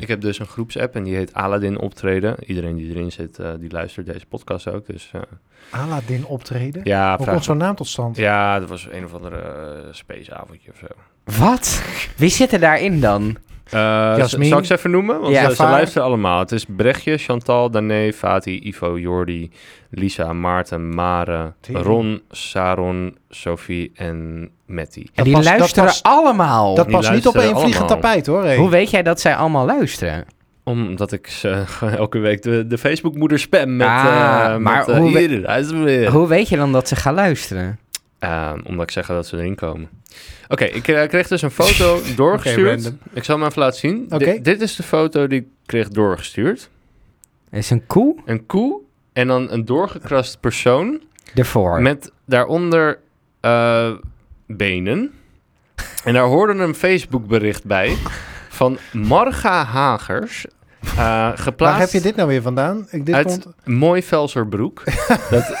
ik heb dus een groepsapp en die heet Aladdin Optreden. Iedereen die erin zit, eh, die luistert deze podcast ook. Dus eh, Aladdin optreden? ja, Hoe vraag- komt zo'n naam tot stand? ja, dat was een of andere eh, spaceavondje of zo. Wat? Wie zit er daarin dan? Eh, Jasmin. z- Zal ik ze even noemen? Want Ja, eh, ze vaar. luisteren allemaal. Het is Brechtje, Chantal, Dané, Fati, Ivo, Jordi, Lisa, Maarten, Mare, Tering. Ron, Saron, Sophie en Matty. En Dat die past- dat luisteren past- allemaal. dat die oh, past niet op één luisteren vliegend allemaal. tapijt hoor. hey. Hoe weet jij dat zij allemaal luisteren? Omdat ik ze elke week de, de Facebookmoeder spam met... Ah, eh, maar met, eh, hoe we- hier, hij is er weer. Hoe weet je dan dat ze gaan luisteren? Eh, omdat ik zeg dat ze erin komen. Oké, ik eh, kreeg dus een foto doorgestuurd. random. ik zal hem even laten zien. Oké. Di- dit is de foto die ik kreeg doorgestuurd. Is een koe Een koe en dan een doorgekrast persoon... ervoor? Met daaronder eh, benen. En daar hoorde een Facebook-bericht bij van Marga Hagers. eh, Waar geplaatst heb je dit nou weer vandaan? Ik, dit uit komt... Mooi Velserbroek. dat,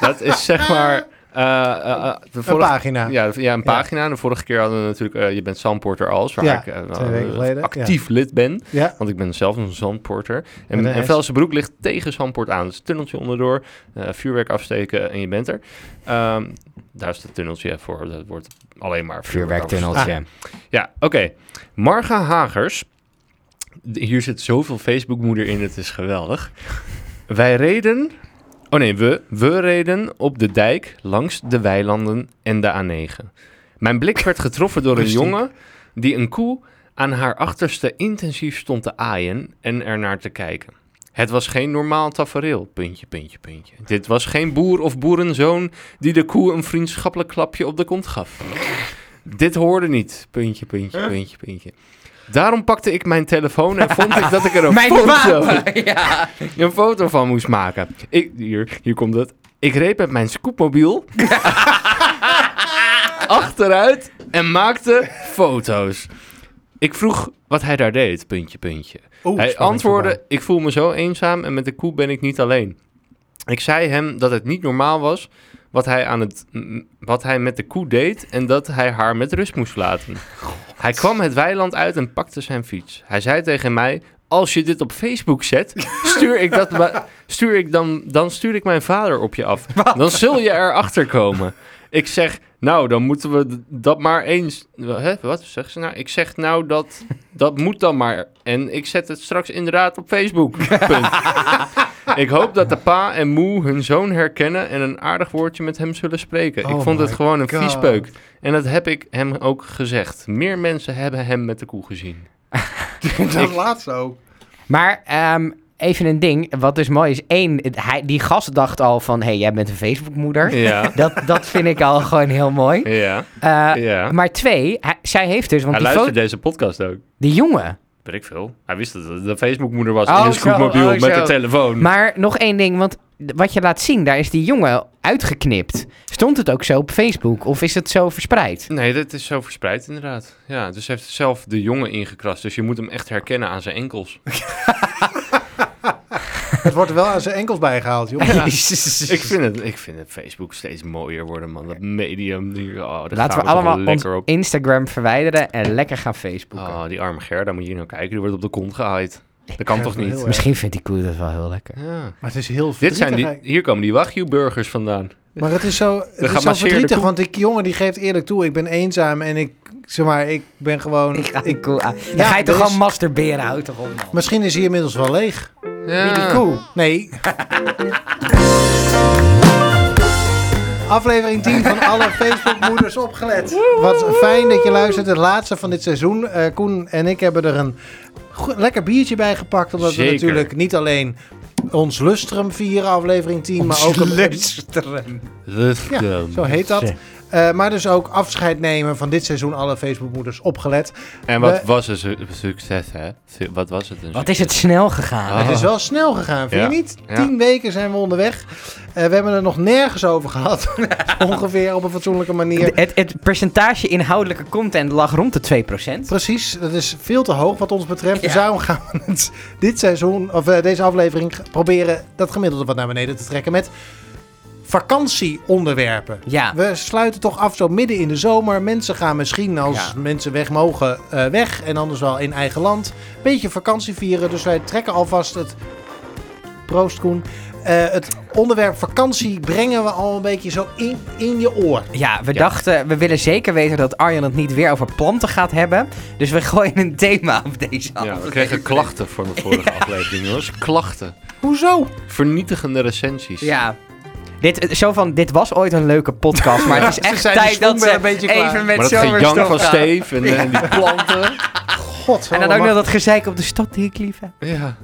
dat is zeg maar... eh, eh, eh, de Een vorige, pagina. ja, de- ja, een pagina. De vorige keer hadden we natuurlijk... eh, je bent Zandporter als, waar Ja, ik eh, wel, twee weken eh, geleden, actief lid ben. Ja. Want ik ben zelf een Zandporter. En, Met een en S. Velsenbroek ligt tegen Zandpoort aan. Dus tunneltje onderdoor, eh, vuurwerk afsteken en je bent er. Ehm, daar is het tunneltje voor. Dat wordt alleen maar vuurwerk Vuurwerktunneltje. afgesteken. Ja, oké. Marga Hagers. D- Hier zit zoveel Facebookmoeder in, het is geweldig. Wij reden... Oh nee, we, we reden op de dijk langs de weilanden en de A9. Mijn blik werd getroffen door een Rustig. jongen die een koe aan haar achterste intensief stond te aaien en er naar te kijken. Het was geen normaal tafereel, puntje, puntje, puntje. Dit was geen boer of boerenzoon die de koe een vriendschappelijk klapje op de kont gaf. Dit hoorde niet, puntje, puntje, puntje, puntje. Daarom pakte ik mijn telefoon en vond ik dat ik er een Mijn foto, wapen! Ja. een foto van moest maken. Ik, hier, hier komt het. Ik reed met mijn scoopmobiel achteruit en maakte foto's. Ik vroeg wat hij daar deed, puntje, puntje. Oeh, hij spanning antwoordde, voorbij. ik voel me zo eenzaam en met de koe ben ik niet alleen. Ik zei hem dat het niet normaal was wat hij, aan het, m- wat hij met de koe deed en dat hij haar met rust moest laten. Hij kwam het weiland uit en pakte zijn fiets. Hij zei tegen mij, als je dit op Facebook zet, stuur ik dat... wa- Stuur ik dan, dan stuur ik mijn vader op je af. Dan zul je erachter komen. Ik zeg, nou, dan moeten we d- dat maar eens... Hè, wat zegt ze nou? Ik zeg, nou, dat, dat moet dan maar. En ik zet het straks inderdaad op Facebook. Punt. ik hoop dat de pa en moe hun zoon herkennen... en een aardig woordje met hem zullen spreken. Oh ik vond het my gewoon een God. viespeuk. En dat heb ik hem ook gezegd. Meer mensen hebben hem met de koe gezien. Dat laatste ook. Maar ehm, even een ding. Wat dus mooi is. één, het- hij, die gast dacht al van... Hé, hey, jij bent een Facebookmoeder. Ja, Dat, dat vind ik al gewoon heel mooi. ja, Eh, ja. Maar twee, hij- zij heeft dus... Want Hij die, luistert foto- deze podcast ook. die jongen... Weet ik veel. Hij wist dat het de Facebookmoeder was Oh, in een zo, scootmobiel oh, met zo. een telefoon. Maar nog één ding, want d- wat je laat zien, daar is die jongen uitgeknipt. Stond het ook zo op Facebook of is het zo verspreid? Nee, dat is zo verspreid inderdaad. Ja, dus hij heeft zelf de jongen ingekrast. Dus je moet hem echt herkennen aan zijn enkels. Het wordt er wel aan zijn enkels bijgehaald, joh. Jezus. ik, vind het, ik vind het Facebook steeds mooier worden, man. Dat medium. Die, oh, daar gaan Laten we toch wel allemaal ons lekker op. Instagram verwijderen en lekker gaan Facebooken. Oh, die arme Gerda, moet je nou kijken. Die wordt op de kont gehaaid. Dat kan Ja, toch heel niet? erg. Misschien vindt die koe dat wel heel lekker. Ja. Maar het is heel Dit zijn die, verdrietig. hier komen die Wagyu-burgers vandaan. Maar het is zo, het is zo gemasseerde verdrietig, koe. want die jongen die geeft eerlijk toe... ik ben eenzaam en ik, zeg maar, ik ben gewoon... Ik ga die koe aan. dus- Dan Ja, ga je toch er gewoon is- masturberen, houd toch op. man. Misschien is hij inmiddels wel leeg. Ja. Die koe. Nee. Aflevering 10 van alle Facebookmoeders opgelet. Wat fijn dat je luistert. Het laatste van dit seizoen. Eh, Koen en ik hebben er een go- lekker biertje bij gepakt. Omdat Zeker. we natuurlijk niet alleen ons lustrum vieren, aflevering 10. maar ook een- Rustig. zo heet dat. Zeg. Eh, maar dus ook afscheid nemen van dit seizoen alle Facebookmoeders opgelet. En wat We- was een su- succes, hè? Su- Wat was het? Een Wat is het snel gegaan? Ah. Het is wel snel gegaan, vind Ja. je niet? Ja. Tien weken zijn we onderweg. Eh, we hebben het nog nergens over gehad. Ongeveer op een fatsoenlijke manier. Het, het percentage inhoudelijke content lag rond de 2%. Precies, dat is veel te hoog wat ons betreft. Dus Ja. daarom gaan we het dit seizoen, of eh, deze aflevering, g- proberen dat gemiddelde wat naar beneden te trekken met 5%. vakantieonderwerpen. Ja. We sluiten toch af zo midden in de zomer. Mensen gaan misschien, als Ja. mensen weg mogen, eh, weg. En anders wel in eigen land. Beetje vakantie vieren. Dus wij trekken alvast het... Proost, Koen. Eh, het onderwerp vakantie brengen we al een beetje zo in, in je oor. Ja, we Ja. dachten, we willen zeker weten dat Arjan het niet weer over planten gaat hebben. Dus we gooien een thema op deze Ja, aflevering. we kregen klachten voor mijn vorige aflevering, jongens. Klachten. Hoezo? Vernietigende recensies. Ja. Dit, zo van, dit was ooit een leuke podcast, maar het is echt zijn de tijd dat schoen ze wel een beetje even klaar. met maar dat gejank zomerstop van gaan. Steve en, eh, en die planten. God. En dan ook nog dat gezeik op de stad die ik lief heb. Ja.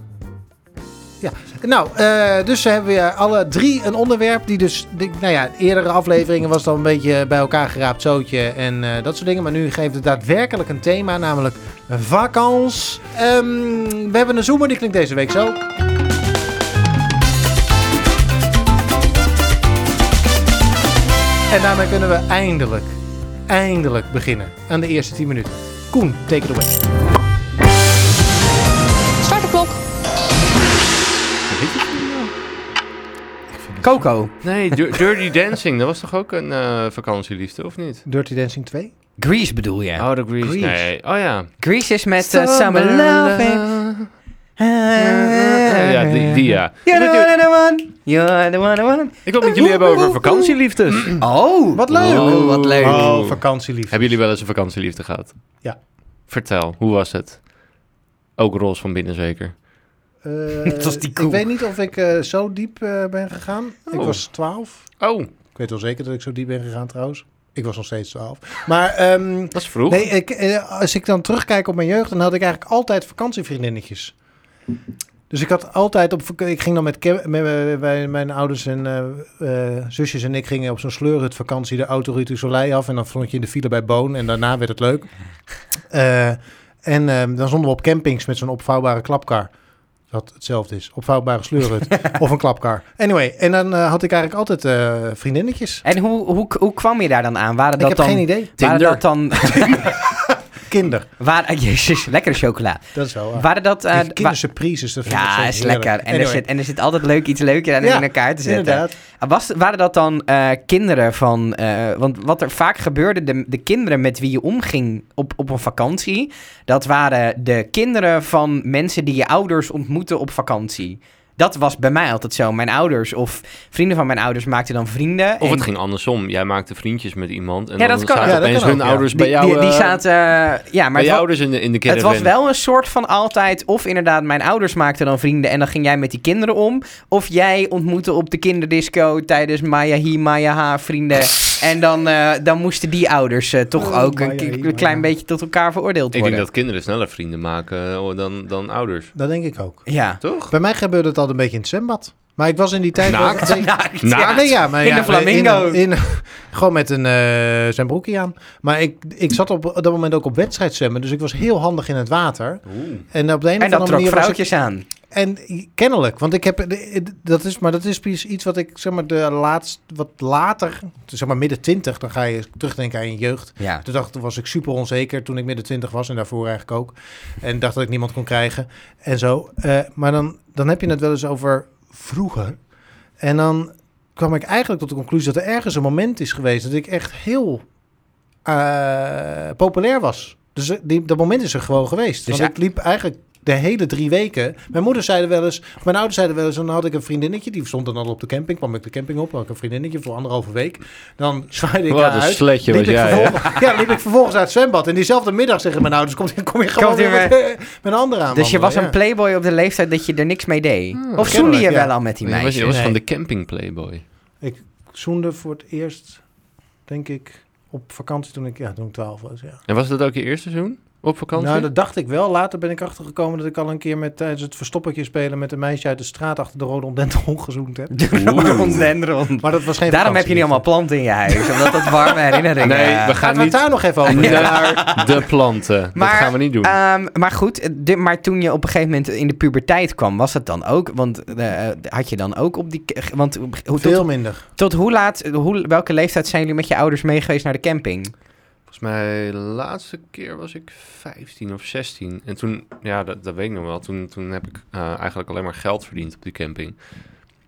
Nou, eh, dus ze hebben weer alle drie een onderwerp die dus... Die, nou ja, eerdere afleveringen was dan een beetje bij elkaar geraapt zootje en eh, dat soort dingen. Maar nu geeft het daadwerkelijk een thema, namelijk vakans. Ehm, we hebben een zoomer, die klinkt deze week zo. En daarmee kunnen we eindelijk, eindelijk beginnen aan de eerste 10 minuten. Koen, take it away. Start de klok. Coco. Nee, Dir- Dirty Dancing, dat was toch ook een eh, vakantieliefde, of niet? Dirty Dancing 2? Grease bedoel je? Oh, de Grease. Nee. Oh ja. Grease is met eh, Summer Loving. Ja, die, die ja. You're the one, the one. You're the one, the one. Ik wil het met jullie hebben over vakantieliefdes. Oh, Wat leuk! Oh, wat leuk. Oh, vakantieliefde. Hebben jullie wel eens een vakantieliefde gehad? Ja. Vertel, hoe was het? Ook roze van binnen zeker. Eh, Net als die koe. Ik weet niet of ik eh, zo diep eh, ben gegaan. Ik Oh. was 12. Oh, Ik weet wel zeker dat ik zo diep ben gegaan trouwens. Ik was nog steeds 12. Maar ehm, dat is vroeg. nee, ik, eh, als ik dan terugkijk op mijn jeugd, dan had ik eigenlijk altijd vakantievriendinnetjes. Dus ik had altijd op vak- ik ging dan met, Ke- met, met- met mijn ouders en eh, eh, zusjes en ik gingen op zo'n sleurhut vakantie de autorite Soleil af en dan vond je in de file bij Boon en daarna werd het leuk. Eh, en eh, dan stonden we op campings met zo'n opvouwbare klapkar. Dat hetzelfde is. Opvouwbare sleurhut. of een klapkar. Anyway, en dan eh, had ik eigenlijk altijd eh, vriendinnetjes. En hoe, hoe, hoe kwam je daar dan aan? Waren Ik dat heb dan... geen idee. Waren Tinder. dat dan... Kinder. waren, jezus, lekkere chocola. Dat is wel waar. Waren dat... eh, Die wa- kindersurprises, dat vind ik ja, steeds is heerlijk. lekker. En, er Anyway, zit, eh, en er zit altijd leuk iets leuker aan om Ja, in elkaar te zetten. Ah, Inderdaad. Was, waren dat dan eh, kinderen van... eh, want wat er vaak gebeurde, de, de kinderen met wie je omging op, op een vakantie... dat waren de kinderen van mensen die je ouders ontmoeten op vakantie. Dat was bij mij altijd zo. Mijn ouders of vrienden van mijn ouders maakten dan vrienden. Of en- het ging andersom. Jij maakte vriendjes met iemand en Ja, dan dat kan. zaten Ja, dat opeens kan hun ook, ja. ouders bij Die, jou. die, die eh, zaten... ja, maar bij het je wa- ouders in de, in de Het caravan. was wel een soort van altijd, of inderdaad, mijn ouders maakten dan vrienden en dan ging jij met die kinderen om. Of jij ontmoette op de kinderdisco tijdens Maya Hi, Maya Ha vrienden. En dan, eh, dan moesten die ouders eh, toch Oh, ook een, Maya Hi, k- Maya klein Ha. beetje tot elkaar veroordeeld Ik denk worden. dat kinderen sneller vrienden maken eh, dan, dan ouders. Dat denk ik ook. Ja. Toch? Bij mij gebeurde het al een beetje in het zwembad. Maar ik was in die tijd... wel- Naakt? Nee, Naakt, Naakt? ja. ja, nee, ja, maar In ja, de flamingo. In, in- gewoon met een, eh, zijn broekje aan. Maar ik, ik zat op, op dat moment ook op wedstrijd zwemmen. Dus ik was heel handig in het water. En op de een En of dat andere manier trok was ik vrouwtjes aan. En kennelijk, want ik heb de- de- dat is, maar dat is precies iets wat ik zeg maar de laatst, wat later, zeg maar midden twintig, dan ga je terugdenken aan je jeugd. Ja. Toen dacht, toen was ik super onzeker toen ik midden twintig was en daarvoor eigenlijk ook. En dacht dat ik niemand kon krijgen en zo. Eh, maar dan, dan heb je het wel eens over vroeger. En dan kwam ik eigenlijk tot de conclusie dat er ergens een moment is geweest dat ik echt heel eh, populair was. Dus eh, die, dat moment is er gewoon geweest. Want Dus ja- ik liep eigenlijk de hele drie weken. Mijn moeder zei er wel eens, of mijn ouders zeiden wel eens, en dan had ik een vriendinnetje, die stond dan al op de camping, kwam ik de camping op, had ik een vriendinnetje voor anderhalve week. Dan zwaaide ik Wat haar een uit. sletje was Liep ik jij. hè? vervolgens- ja, liep ik vervolgens uit het zwembad. En diezelfde middag zeggen mijn ouders, kom, kom je gewoon Komt weer u met, met een ander aan. Dus je was wandelen, een playboy op de leeftijd dat je er niks mee deed. of zoende je Hmm. kennelijk, ja. wel al met die Je was, meisjes? je was van Nee. de camping playboy. ja. Ik zoende voor het eerst, denk ik, op vakantie toen ik, ja, toen ik twaalf was, ja. En was dat ook je eerste seizoen? Op vakantie? Nou, dat dacht ik wel. Later ben ik achtergekomen dat ik al een keer met tijdens het verstoppertje spelen met een meisje uit de straat achter de rhododendron gezoend heb. Rhododendron. Maar dat was geen Daarom heb je niet allemaal planten in je huis, omdat dat warme herinneringen... Nee, we Gaan gaan we het niet daar nog even over? hebben? naar de planten. Maar, dat gaan we niet doen. Ehm, maar goed, de- maar toen je op een gegeven moment in de puberteit kwam, was dat dan ook? Want eh, had je dan ook op die. Want hoe- Veel tot, minder. tot hoe laat, hoe, welke leeftijd zijn jullie met je ouders mee geweest naar de camping? Volgens mij de laatste keer was ik 15 of 16. En toen, ja, dat, dat weet ik nog wel. Toen, toen heb ik eh, eigenlijk alleen maar geld verdiend op die camping.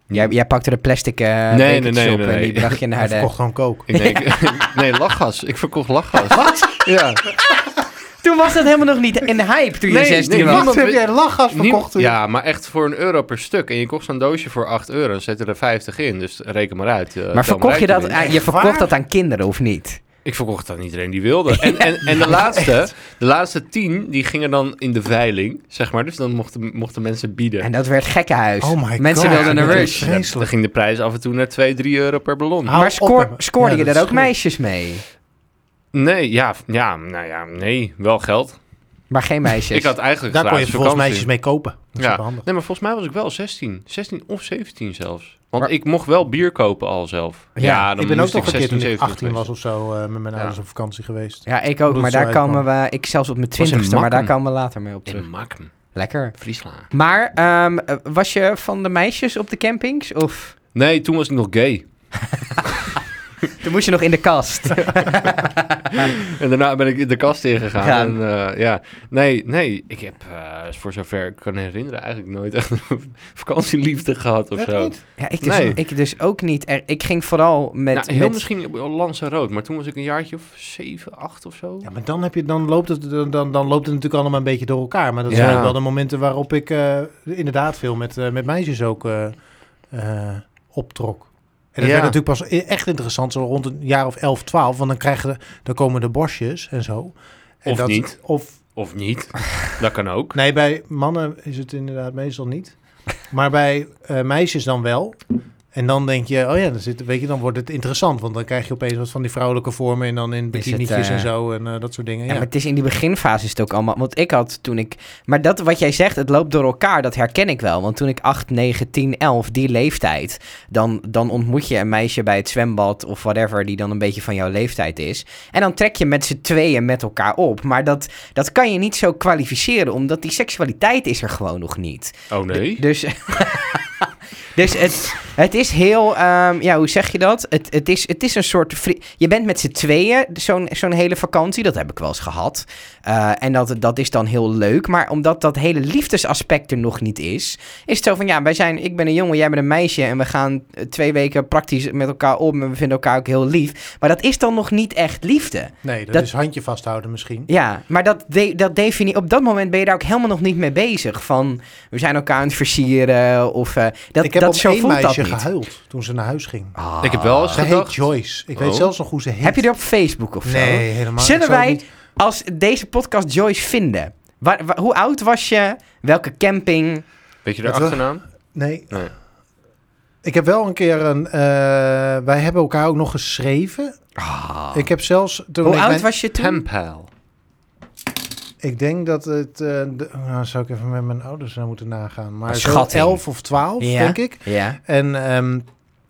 Jij, jij pakte de plastic eh nee, bekertjes nee, op nee, en nee. die bracht je naar Hij de... verkocht gewoon kook. Ik denk, nee, lachgas. Ik verkocht lachgas. Wat? Ja. Toen was dat helemaal nog niet in de hype toen je Nee, 16 nee, was. niemand- Wat heb jij lachgas Niem- verkocht? toen? ja, maar echt voor een euro per stuk. En je kocht zo'n doosje voor 8 euro en zette er 50 in. Dus reken maar uit. eh, tel Maar verkocht je dat, uit. aan- je Waar? verkocht dat aan kinderen of niet? Ik verkocht dat aan iedereen die wilde. En, en, en de, laatste, de laatste 10, die gingen dan in de veiling, zeg maar. Dus dan mochten, mochten mensen bieden. En dat werd gekkenhuis. Oh my Mensen God. wilden een Dat rush. is- Ja, dan ging de prijs af en toe naar 2, 3 euro per ballon. Hou maar op scoor- hem. scoorde Ja, je dat daar is ook goed. meisjes mee? Nee, ja, f- ja, nou ja, nee, wel geld. Maar geen meisjes. Ik had eigenlijk Daar kon je gratis volgens vakantie. meisjes mee kopen. Dat is Ja. wel handig. Nee, maar volgens mij was ik wel 16. 16 of 17 zelfs. Want Maar- ik mocht wel bier kopen al zelf. Ja, Ah, dan ik ben ook moest nog een keer 16, toen ik 17 18 was geweest. of zo eh, met mijn Ja. ouders op vakantie geweest. Ja, ik ook. Omdat Maar ze daar uitkwam. komen we... Ik zelfs op mijn in twintigste, maar daar Makkum. komen we later mee op terug. In Makkum, Lekker. Friesland. Maar ehm, eh, was je van de meisjes op de campings? Of Nee, toen was ik nog gay. toen moest je nog in de kast? En daarna ben ik in de kast ingegaan. Ja. En, eh, ja. Nee, nee, ik heb eh, voor zover ik kan herinneren eigenlijk nooit echt een vakantieliefde gehad of Echt zo. niet? ja, ik dus, Nee. ik dus ook niet. Er- ik ging vooral met... nou, heel met- misschien op Lanzarote, maar toen was ik een jaartje of 7, 8 of zo. Ja, maar dan, heb je, dan, loopt het, dan, dan, dan loopt het natuurlijk allemaal een beetje door elkaar. Maar dat Ja. zijn ook wel de momenten waarop ik eh, inderdaad veel met, eh, met meisjes ook eh, eh, optrok. En dat Ja. werd natuurlijk pas i- echt interessant zo rond een jaar of 11, 12. Want dan, krijgen, de- dan komen de borstjes en zo. En Of niet. Of, Of niet. Dat kan ook. nee, bij mannen is het inderdaad meestal niet. Maar bij eh, meisjes dan wel. En dan denk je, oh ja, dan, zit, weet je, dan wordt het interessant. Want dan krijg je opeens wat van die vrouwelijke vormen. En dan in het, bikinietjes eh, en zo. En eh, dat soort dingen. Ja, Ja, maar het is in die beginfase is het ook allemaal. Want ik had toen ik. Maar dat wat jij zegt, het loopt door elkaar, dat herken ik wel. Want toen ik 8, 9, 10, 11, die leeftijd. Dan, dan ontmoet je een meisje bij het zwembad of whatever. die dan een beetje van jouw leeftijd is. En dan trek je met z'n tweeën met elkaar op. Maar dat, dat kan je niet zo kwalificeren, omdat die seksualiteit is er gewoon nog niet. Oh nee. Dus. Dus het, het is heel, ehm, ja, hoe zeg je dat? Het, het, is, het is een soort. vri- Je bent met z'n tweeën zo'n zo'n hele vakantie, dat heb ik wel eens gehad. Eh, en dat, dat is dan heel leuk, maar omdat dat hele liefdesaspect er nog niet is, is het zo van ja, wij zijn, ik ben een jongen, jij bent een meisje en we gaan eh, twee weken praktisch met elkaar om en we vinden elkaar ook heel lief. Maar dat is dan nog niet echt liefde. Nee, dat, Dat- is handje vasthouden misschien. Ja, maar dat, de, dat defini- op dat moment ben je daar ook helemaal nog niet mee bezig. Van, we zijn elkaar aan het versieren of... eh, dat, ik heb dat, op zo één voelt meisje dat niet. gehuild toen ze naar huis ging. Ah. Ik heb wel eens Ze gedacht... heet Joyce. Ik weet Oh. zelfs nog hoe ze heet. Heb je er op Facebook of zo? Nee, helemaal Zullen ik zou wij- het niet- Als deze podcast Joyce vinden, waar, waar- hoe oud was je? Welke camping? Weet je de Dat we- achternaam? Nee. Nee. Ik heb wel een keer een... eh, wij hebben elkaar ook nog geschreven. Ah. Ik heb zelfs... Toen hoe ik oud mijn- was je toen? Tempel. Ik denk dat het... eh, de- nou, zou ik even met mijn ouders nou moeten nagaan. Maar zo Schatting. 11 of 12, Ja. denk ik. Ja. En ehm,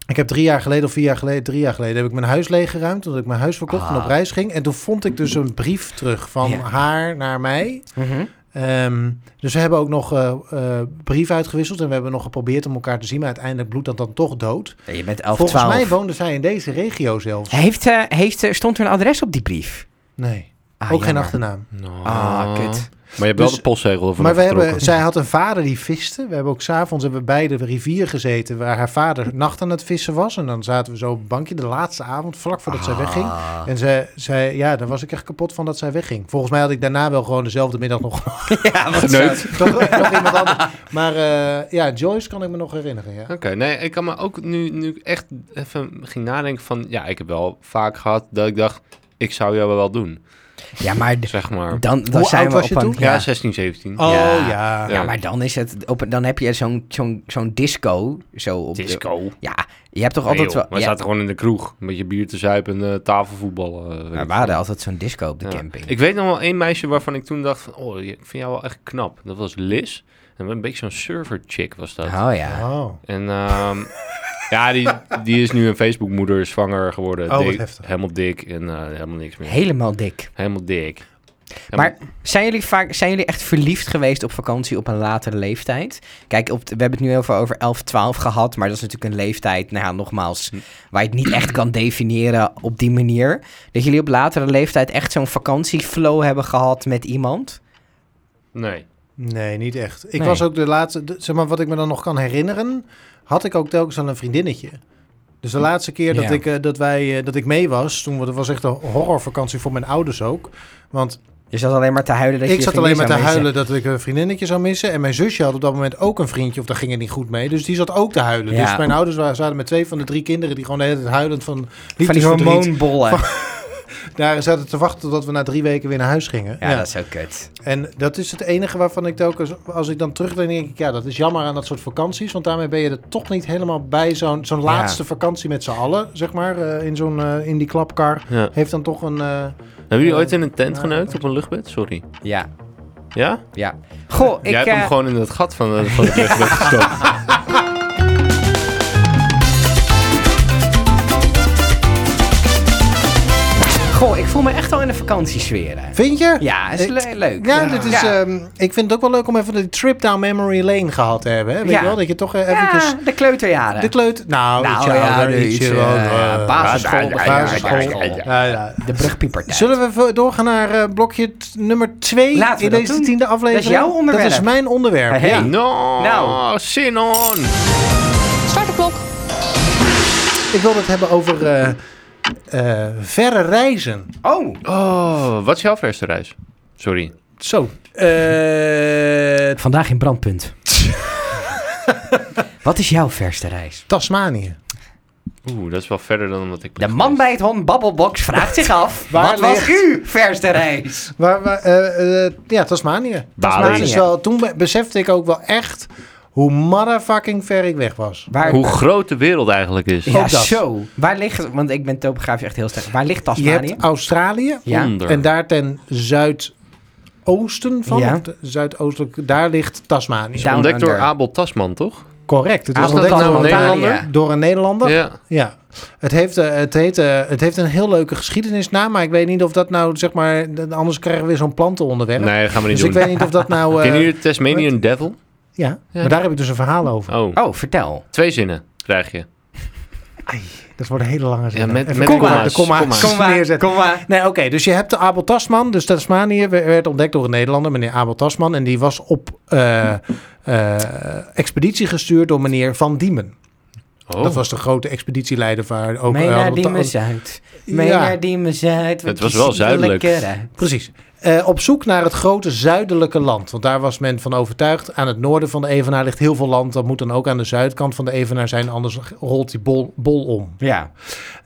ik heb drie jaar geleden of vier jaar geleden, drie jaar geleden, heb ik mijn huis leeggeruimd. Omdat ik mijn huis verkocht en Ah. op reis ging. En toen vond ik dus een brief terug van Ja. haar naar mij. Mhm. Ehm, dus we hebben ook nog eh eh, brief uitgewisseld. En we hebben nog geprobeerd om elkaar te zien. Maar uiteindelijk bloedt dat dan toch dood. Ja, Je bent 11, Volgens 12. mij woonde zij in deze regio zelfs. Heeft, eh, heeft, eh, stond er een adres op die brief? Nee, Ah, ook geen jammer. achternaam. No. Ah, kut. Maar je hebt Dus- wel de postzegel ervan Maar we hebben, afgetrokken. zij had een vader die viste. We hebben ook s'avonds hebben we bij de rivier gezeten. Waar haar vader nacht aan het vissen was. En dan zaten we zo op een bankje de laatste avond. Vlak voordat zij wegging. Ah. En zij, zij, ja, daar was ik echt kapot van dat zij wegging. Volgens mij had ik daarna wel gewoon dezelfde middag nog, Ja, wat Geneukt. zo. nog, nog iemand anders. Maar eh, ja, Joyce kan ik me nog herinneren. Ja. Oké, nee, ik kan me ook nu, nu ik echt even ging nadenken van... Ja, ik heb wel vaak gehad dat ik dacht, ik zou jou wel doen, Ja, maar d- zeg maar. dan, dan Hoe zijn oud we was je op een... toen? Ja, 16, 17. Oh Ja. ja. Ja. Ja, maar dan is het op, dan heb je zo'n zo'n zo'n disco zo op de- Disco. ja, je hebt toch Nee, altijd joh, wel. maar we ja, zaten gewoon in de kroeg. Een beetje bier te zuipen en eh, tafelvoetballen. eh, weet maar ik we hadden altijd zo'n disco op de Ja. camping. Ik weet nog wel één meisje waarvan ik toen dacht van... Oh, ik vind jou wel echt knap. Dat was Liz. En een beetje zo'n server chick was dat. oh ja. Oh. En ehm, ja, die, die is nu een Facebookmoeder, is zwanger geworden. Oh, wat Dik, heftig. Helemaal dik en eh, helemaal niks meer. Helemaal dik. Helemaal dik. Ja, Maar zijn jullie, vaak, zijn jullie echt verliefd geweest op vakantie op een latere leeftijd? Kijk, op de- we hebben het nu heel veel over 11, 12 gehad. Maar dat is natuurlijk een leeftijd, nou ja, Hm. nogmaals, waar je het niet echt kan definiëren op die manier. Dat jullie op latere leeftijd echt zo'n vakantieflow hebben gehad met iemand? nee. Nee, niet echt. Ik Nee. was ook de laatste, de- zeg maar, wat ik me dan nog kan herinneren, had ik ook telkens aan een vriendinnetje. Dus de laatste keer dat, Ja. ik, eh, dat, wij, eh, dat ik mee was, toen dat was echt een horrorvakantie voor mijn ouders ook. Want Je zat alleen maar te huilen Dus dat je ik je zat alleen vriendin maar te zou missen. huilen dat ik een vriendinnetje zou missen. En mijn zusje had op dat moment ook een vriendje, of daar ging het niet goed mee. Dus die zat ook te huilen. Ja. Dus mijn ouders waren, zaten met twee van de drie kinderen die gewoon de hele tijd huilend van Van die liefdesverdriet hormoonbollen. Daar zaten te wachten totdat we na drie weken weer naar huis gingen. Ja, Ja. dat is ook kut. En dat is het enige waarvan ik telkens, als ik dan terugdenk, denk ik, ja, dat is jammer aan dat soort vakanties. Want daarmee ben je er toch niet helemaal bij. Zo'n zo'n laatste vakantie met z'n allen, zeg maar, eh, in, zo'n, eh, in die klapkar. Ja. Heeft dan toch een. eh, Hebben jullie ooit in een tent Ja. geneukt op een luchtbed? Sorry. Ja, Ja? ja. Goh, ik... Jij hebt eh, hem gewoon in het gat van, de- van het luchtbed gestopt. Goh, ik voel me echt al in de vakantiesfeer. hè. vind je? Ja, is Ik- le- leuk. Ja, dit is, Ja. ehm, ik vind het ook wel leuk om even die trip down memory lane gehad te hebben. Hè? Weet Ja. je wel, dat je toch eh, Ja, eventjes de kleuterjaren. de kleut... Nou, Nou, ietsje ja, ouder, de- ietsje ietsje, wel, ja, eh, basisschool, de ja, basisschool. ja, ja, ja. Ja, ja. de brugpiepertijd. Zullen we even doorgaan naar eh, blokje t- nummer 2 Laten we in dat deze doen. tiende aflevering? Dat is jouw onderwerp. Dat is mijn onderwerp. Hey, hey. Ja. No, Nou. zin on. Start de klok. Ik wil het hebben over eh, eh, verre reizen. Oh, Oh, wat is jouw verste reis? Sorry. Zo. eh, vandaag in brandpunt. Wat is jouw verste reis? Tasmanië. Oeh, dat is wel verder dan wat ik De man bij het hond Babbelbox vraagt zich af, Waar wat was ligt- uw verste reis? Waar, waar, eh, eh, ja, Tasmanië. Tasmanië is wel, toen be- besefte ik ook wel echt hoe motherfucking ver ik weg was. Waar, Hoe groot de wereld eigenlijk is. ja, ook dat. zo. Waar ligt, want ik ben topografisch echt heel sterk. Waar ligt Tasmanië? Je hebt Australië. Ja. Onder. En daar ten zuidoosten van, Ja. of de- zuidoostelijk, daar ligt Tasmanië. Daar- Down Ontdekt door Under. Abel Tasman, toch? Correct. Het is Afstand ontdekt door van een Italië. Nederlander. Door een Nederlander. Ja. Ja, het heeft, eh, het, heet, eh, het heeft een heel leuke geschiedenis na, maar ik weet niet of dat nou, zeg maar, d- anders krijgen we weer zo'n plantenonderwerp. Nee, dat gaan we niet dus doen. ik weet niet of dat nou... eh, Ken jullie de Tasmanian Devil? ja, maar daar heb ik dus een verhaal over. Oh, Oh, vertel. twee zinnen krijg je. Dat wordt een hele lange zin. Ja, met- Even met de komma's, de komma's komma's. Kom maar, neerzetten. kom maar. Nee, oké, dus je hebt de Abel Tasman, dus Tasmanië we- werd ontdekt door een Nederlander, meneer Abel Tasman, en die was op eh, eh, expeditie gestuurd door meneer Van Diemen. Oh. Dat was de grote expeditieleider waar ook... Mee eh, naar Abel Ta- Diemen-Zuid. Mee Ja. naar Diemen-Zuid. want Het was je wel ziet er zuidelijk. lekker uit. Precies. Eh, op zoek naar het grote zuidelijke land. Want daar was men van overtuigd. Aan het noorden van de Evenaar ligt heel veel land. Dat moet dan ook aan de zuidkant van de Evenaar zijn. Anders rolt die bol, bol om. Ja,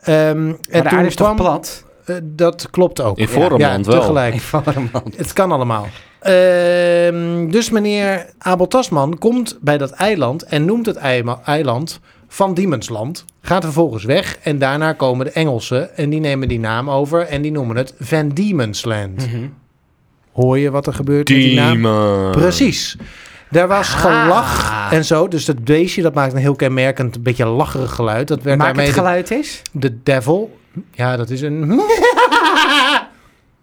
Ehm, en en de toen aarde is toch kwam... plat? eh, dat klopt ook. In Foreland ja, wel. tegelijk. Informant. Het kan allemaal. Ehm, dus meneer Abel Tasman komt bij dat eiland en noemt het eima- eiland Van Diemensland. Gaat vervolgens weg en daarna komen de Engelsen en die nemen die naam over en die noemen het Van Diemensland. Mhm. Hoor je wat er gebeurt met die naam? Demon. Precies. Daar was Ah. gelach en zo. Dus dat beestje dat maakt een heel kenmerkend, een beetje lacherig geluid. Dat werd Maak daarmee het de- geluid is. de, devil. Ja, dat is een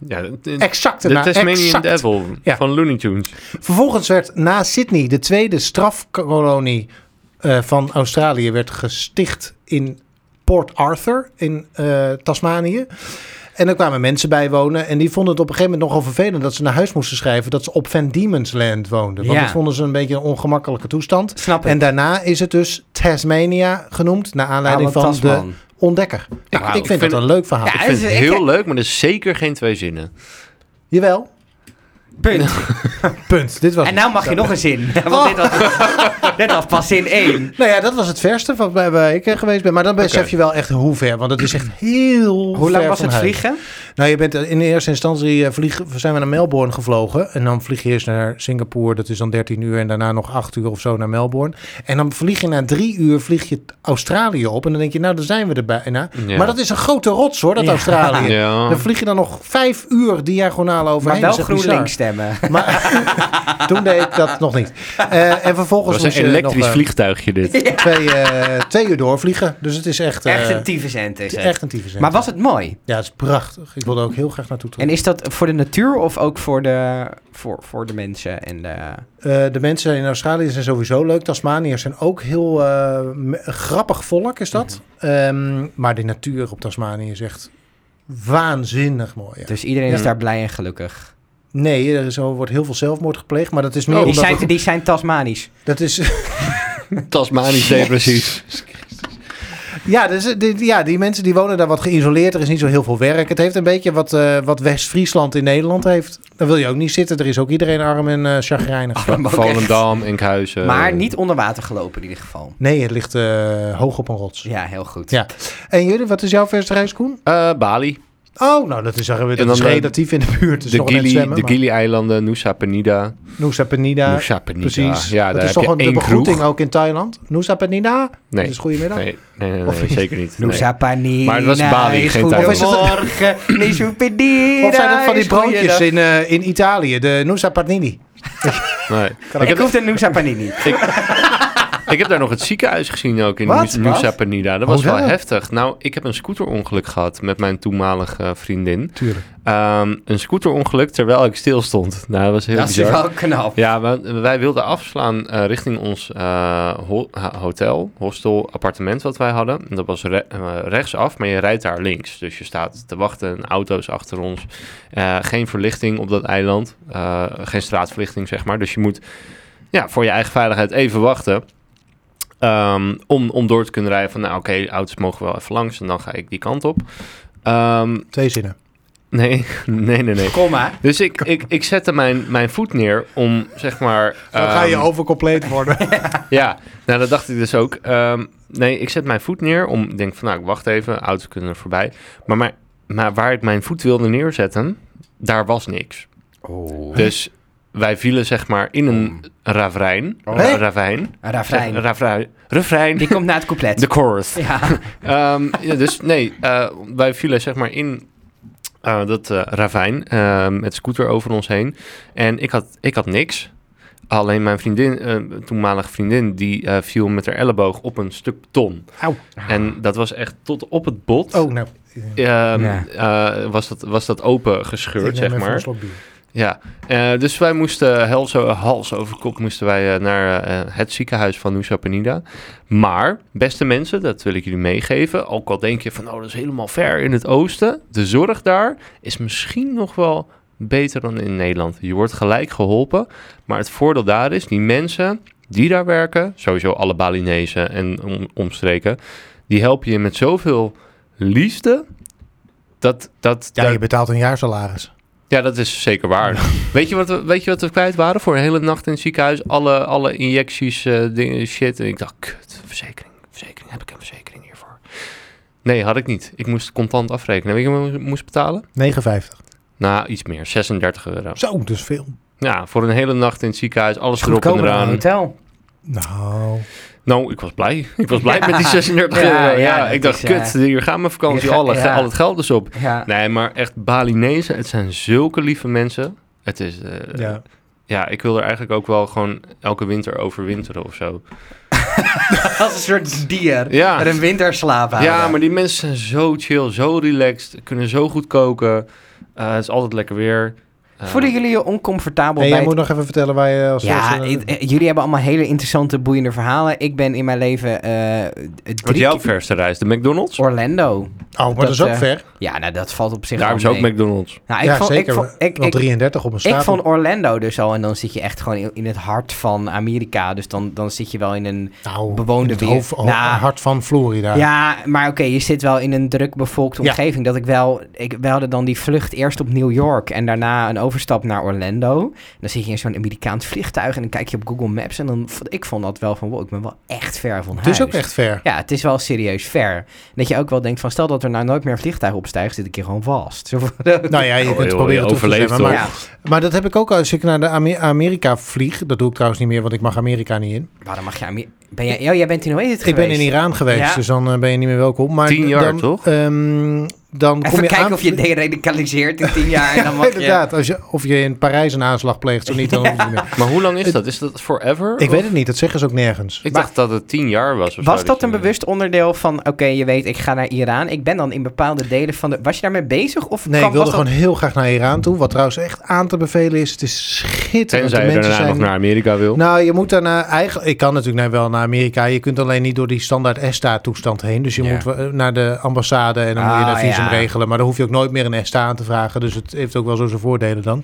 Ja, de, de- exacte de naam. Tasmanian Nou, Exact. Devil Ja. van Looney Tunes. Vervolgens werd na Sydney de tweede strafkolonie eh, van Australië werd gesticht in Port Arthur in eh, Tasmanië. En er kwamen mensen bij wonen en die vonden het op een gegeven moment nogal vervelend dat ze naar huis moesten schrijven dat ze op Van Diemen's Land woonden. Want Ja. dat vonden ze een beetje een ongemakkelijke toestand. Snap En daarna is het dus Tasmania genoemd naar aanleiding van de ontdekker. Nou, Wauw, ik ik vind dat vind- een leuk verhaal. Ja, ik vind dus het ik- heel leuk, maar er is zeker geen twee zinnen. Jawel. Punt. Punt. Dit was En het. nou mag je nog een zin. Want dit, was, dit was pas zin 1. Nou ja, dat was het verste van waar waar ik eh, geweest ben. Maar dan besef Oké. je wel echt hoe ver. Want het is echt heel Hoe lang ver was van het huis. vliegen? Nou, je bent eh, in de eerste instantie eh, vlieg, zijn we naar Melbourne gevlogen. En dan vlieg je eerst naar Singapore. Dat is dan 13 uur. En daarna nog 8 uur of zo naar Melbourne. En dan vlieg je na drie uur vlieg je Australië op. En dan denk je, nou, daar zijn we er bijna. Ja. Maar dat is een grote rots hoor, dat Australië. Ja. Dan vlieg je dan nog vijf uur diagonaal Maar overheen. wel Dat is echt bizar. GroenLinks stemmen. Maar toen deed ik dat nog niet. Eh, en vervolgens Het was moest een je elektrisch nog, eh, vliegtuigje dit. twee, eh, twee uur doorvliegen. Dus het is echt, eh, Echt een tyfuscent is het. echt een tyfus. Maar was het mooi? Ja, het is prachtig. Ik wil er ook heel graag naartoe terug. En is dat voor de natuur of ook voor de, voor, voor de mensen? En de... Eh, de mensen in Australië zijn sowieso leuk. Tasmaniërs zijn ook heel eh, me- grappig volk, is dat. Mhm. Ehm, maar de natuur op Tasmanië is echt waanzinnig mooi. ja. Dus iedereen is Ja. daar blij en gelukkig. Nee, er is, er wordt heel veel zelfmoord gepleegd, maar dat is meer Oh, die, omdat... zijn, het- die zijn Tasmanisch. dat is, Tasmanisch depressief. ja, dus, die, ja, die mensen die wonen daar wat geïsoleerd. Er is niet zo heel veel werk. Het heeft een beetje wat, eh, wat West-Friesland in Nederland heeft. Daar wil je ook niet zitten. Er is ook iedereen arm en eh chagrijnig. ook Volendam, Enkhuizen. maar niet onder water gelopen in ieder geval. Nee, het ligt eh, hoog op een rots. Ja, heel goed. Ja. En jullie, wat is jouw verste reis, Koen? Eh, Bali. Oh, nou, dat is, dat En is dan, eh, relatief in de buurt. Dus de nog net Gili- zwemmen, de maar- Gili-eilanden, Nusa Penida. Nusa Penida. Nusa Penida. Precies. Ja, dat daar is heb je toch gewoon de één begroeting kroeg. ook in Thailand? Nusa Penida? Nee. Dat is goedemiddag. Nee, nee, nee, Of nee, niet? zeker niet. Nee. Noosa Panina Maar het was Bali, is geen goed. Thailand. Morgen, Noosa Panina Of zijn dat van die is goeiedag. broodjes in, eh, in Italië? De Nusa Panini. Nee. Ik, Ik, heb, hoef de Noosa Panini. ik heb daar nog het ziekenhuis gezien ook in Wat? Nu- Nusa Wat? Oh, Penida. Dat was Hoezo? wel heftig. Nou, ik heb een scooterongeluk gehad met mijn toenmalige vriendin. Tuurlijk. Ehm, een scooterongeluk terwijl ik stil stond. Nou, dat was heel Dat is bizar. wel knap. Ja, we- wij wilden afslaan eh, richting ons eh, ho- ha- hotel, hostel, appartement wat wij hadden. En dat was re- eh, rechtsaf, maar je rijdt daar links. Dus je staat te wachten, auto's achter ons. Eh, geen verlichting op dat eiland, Eh, geen straatverlichting zeg maar. Dus je moet ja, voor je eigen veiligheid even wachten. Ehm, om, om door te kunnen rijden van, nou oké, auto's mogen wel even langs en dan ga ik die kant op. Ehm, Twee zinnen. nee, nee, nee, nee. Kom maar. Dus ik, ik, ik zette mijn, mijn voet neer om, zeg maar... Dan ga je ehm, overcompleet worden. Ja, nou dat dacht ik dus ook. Ehm, nee, ik zet mijn voet neer om... Ik denk van, nou, ik wacht even. Auto's kunnen er voorbij. Maar, maar, maar waar ik mijn voet wilde neerzetten, daar was niks. Dus wij vielen, zeg maar, in een ravijn. Hè? Ra- ravijn. Rafijn. Zeg- Ravijn. Refrein. Die komt na het couplet. De chorus. ja. Ehm, ja, dus nee, eh, wij vielen zeg maar in eh, dat eh, ravijn eh, met scooter over ons heen. En ik had, ik had niks. Alleen mijn vriendin, eh, toenmalige vriendin, die eh, viel met haar elleboog op een stuk ton. Au. En dat was echt tot op het bot. Oh, nou. Ehm, Ja. eh, was, dat, was dat open Ik gescheurd, neem zeg even een maar. slok bier. Ja, eh, dus wij moesten hals, o- hals over kop moesten wij eh, naar eh, het ziekenhuis van Nusa Penida. Maar, beste mensen, dat wil ik jullie meegeven. Ook al denk je van, oh, dat is helemaal ver in het oosten. De zorg daar is misschien nog wel beter dan in Nederland. Je wordt gelijk geholpen. Maar het voordeel daar is, die mensen die daar werken, sowieso alle Balinezen en om- omstreken, die helpen je met zoveel liefde. Dat, dat, Ja, daar- je betaalt een jaarsalaris. ja, dat is zeker waar. weet, je wat we, weet je wat we kwijt waren voor een hele nacht in het ziekenhuis? Alle, alle injecties, eh, dingen, shit. En ik dacht, kut, verzekering, verzekering. Heb ik een verzekering hiervoor? Nee, had ik niet. Ik moest contant afrekenen. Weet je wat ik moest betalen? 59. Nou, iets meer. 36 euro. Zo, dus veel. Ja, voor een hele nacht in het ziekenhuis. Alles erop en Goedkoper dan een eraan. hotel. Nou. Nou, ik was blij. Ik was blij met die 36 Ja, euro. ja, Ja, dat ik dacht, is, eh, kut, hier gaat mijn vakantie. hier ga- alle, ja. Al het geld is op. Ja. Nee, maar echt Balinezen. Het zijn zulke lieve mensen. Het is... eh, Ja. Ja, ik wil er eigenlijk ook wel gewoon elke winter overwinteren of zo. Als een soort dier. Ja. Met een winterslaap houden. Ja, maar die mensen zijn zo chill, zo relaxed, kunnen zo goed koken. Eh, het is altijd lekker weer. Eh, Voelen jullie je oncomfortabel En bij jij het moet nog even vertellen waar je als Ja, eerste- het- eh, jullie hebben allemaal hele interessante, boeiende verhalen. Ik ben in mijn leven eh, eh, Wat drie is jouw keer- verste reis? De McDonald's? Orlando. Oh, maar dat, is dat, ook eh, ver. Ja, nou, dat valt op zich Daar is wel ook mee. McDonald's. Nou, ja, vond, zeker. Ik vond, ik, Wel ik, 33 op een ik stapel. vond Orlando dus al, en dan zit je echt gewoon in, in het hart van Amerika. Dus dan, dan zit je wel in een... nou, bewoonde in het weer- hoofd- Nou. hart van Florida. Ja, maar oké, je zit wel in een druk bevolkte Ja. omgeving. Dat ik wel... Ik, we hadden dan die vlucht eerst op New York en daarna een overstap naar Orlando. En dan zit je in zo'n Amerikaans vliegtuig en dan kijk je op Google Maps. En dan, vond- ik vond dat wel van, wow, ik ben wel echt ver van Het is ook huis. echt ver. Ja, het is wel serieus ver. Dat je ook wel denkt van, stel dat er nou nooit meer een vliegtuig opstijgt, zit ik hier gewoon vast. Zo van- Nou ja, je Oh, kunt joh, proberen je terug te overleeft zwemmen, maar, toch? ja. maar dat heb ik ook als ik naar de Ame- Amerika vlieg. Dat doe ik trouwens niet meer, want ik mag Amerika niet in. Waarom mag je Amer- ben jij, oh, jij bent in, hoe heet het Ik ben in geweest? Iran geweest, Ja. dus dan eh, ben je niet meer welkom. Maar Tien d- jaar, dan, toch? ehm, dan kom Even je kijken aan- of je deradicaliseert in tien jaar. En dan mag je- Inderdaad, als je, of je in Parijs een aanslag pleegt, zo niet, dan hoef je niet meer. Maar hoe lang is dat? Is dat forever? Ik Of- weet het niet, dat zeggen ze ook nergens. Ik dacht dat het tien jaar was. Of Was zo, dat je- een bewust onderdeel van, oké, je weet, ik ga naar Iran. Ik ben dan in bepaalde delen van de... Was je daarmee bezig? Of Nee, kwam- ik wilde was dat- gewoon heel graag naar Iran toe. Wat trouwens echt aan te bevelen is, het is schitterend. Tenzij De je mensen daarna zijn- nog naar Amerika wil. Nou, je moet daarna eigenlijk... Ik kan natuurlijk naar- wel naar E Amerika. Je kunt alleen niet door die standaard ESTA-toestand heen. Dus je Ja. moet wel, eh, naar de ambassade en dan moet je Ah, een visum hem regelen. Maar dan hoef je ook nooit meer een E ESTA aan te vragen. Dus het heeft ook wel zo zijn voordelen dan.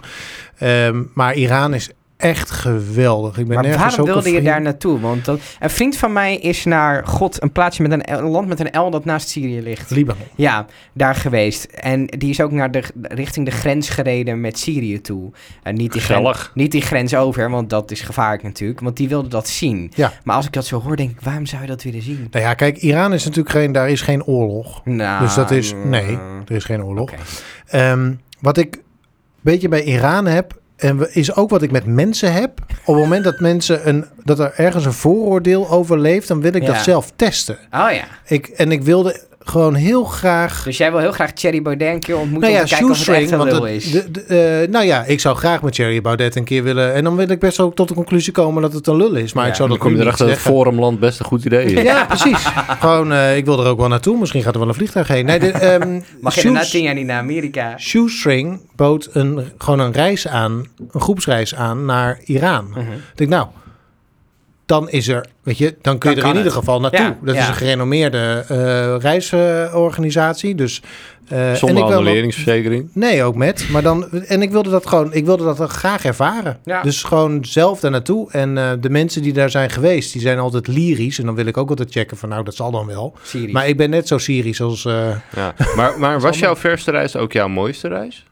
Ehm, maar Iran is echt geweldig. Ik ben Maar nergens waarom ook een wilde je vriend- daar naartoe? Want dat, een vriend van mij is naar God, een plaatsje met een, L- een land met een L dat naast Syrië ligt. Libanon. Ja, daar geweest. En die is ook naar de, richting de grens gereden met Syrië toe. En niet die, grens, Gezellig. niet die grens over, want dat is gevaarlijk natuurlijk. Want die wilde dat zien. Ja. Maar als ik dat zo hoor, denk ik, waarom zou je dat willen zien? Nou ja, kijk, Iran is natuurlijk geen, daar is geen oorlog. Nou, Dus dat is- nee. eh, Er is geen oorlog. oké. Ehm, wat ik een beetje bij Iran heb, en we- is ook wat ik met mensen heb. Op het moment dat, mensen een, dat er ergens een vooroordeel over leeft, dan wil ik Ja. dat zelf testen. Oh ja. Ik, en ik wilde gewoon heel graag. Dus jij wil heel graag Thierry Baudet een keer ontmoeten Nou ja, om te kijken of het echt shoestring. een Want lul het- is. de- de- eh, nou ja, ik zou graag met Thierry Baudet een keer willen. En dan wil ik best ook tot de conclusie komen dat het een lul is. Maar Ja, ik zou Dan dat kom je nu niet erachter dat het zeggen. forumland best een goed idee is. Ja, precies. Gewoon, eh, ik wil er ook wel naartoe. Misschien gaat er wel een vliegtuig heen. Nee, de, ehm, Mag je shoes- na tien jaar niet naar Amerika? Shoestring bood een, gewoon een reis aan, een groepsreis aan naar Iran. Mhm. Ik denk, nou, dan is er, weet je, dan kun Dan je er kan in ieder het. geval naartoe. Ja, dat ja. is een gerenommeerde eh, reisorganisatie. dus, Zonder eh, en ik wil wel- annuleringsverzekering. Nee, ook met. Maar dan, en ik wilde dat gewoon, ik wilde dat dan graag ervaren. Ja. Dus gewoon zelf daar naartoe. En eh, de mensen die daar zijn geweest, die zijn altijd lyrisch. En dan wil ik ook altijd checken van, nou, dat zal dan wel. Syrië. Maar ik ben net zo Syrisch als. eh, Ja. Maar, maar was jouw verste reis ook jouw mooiste reis?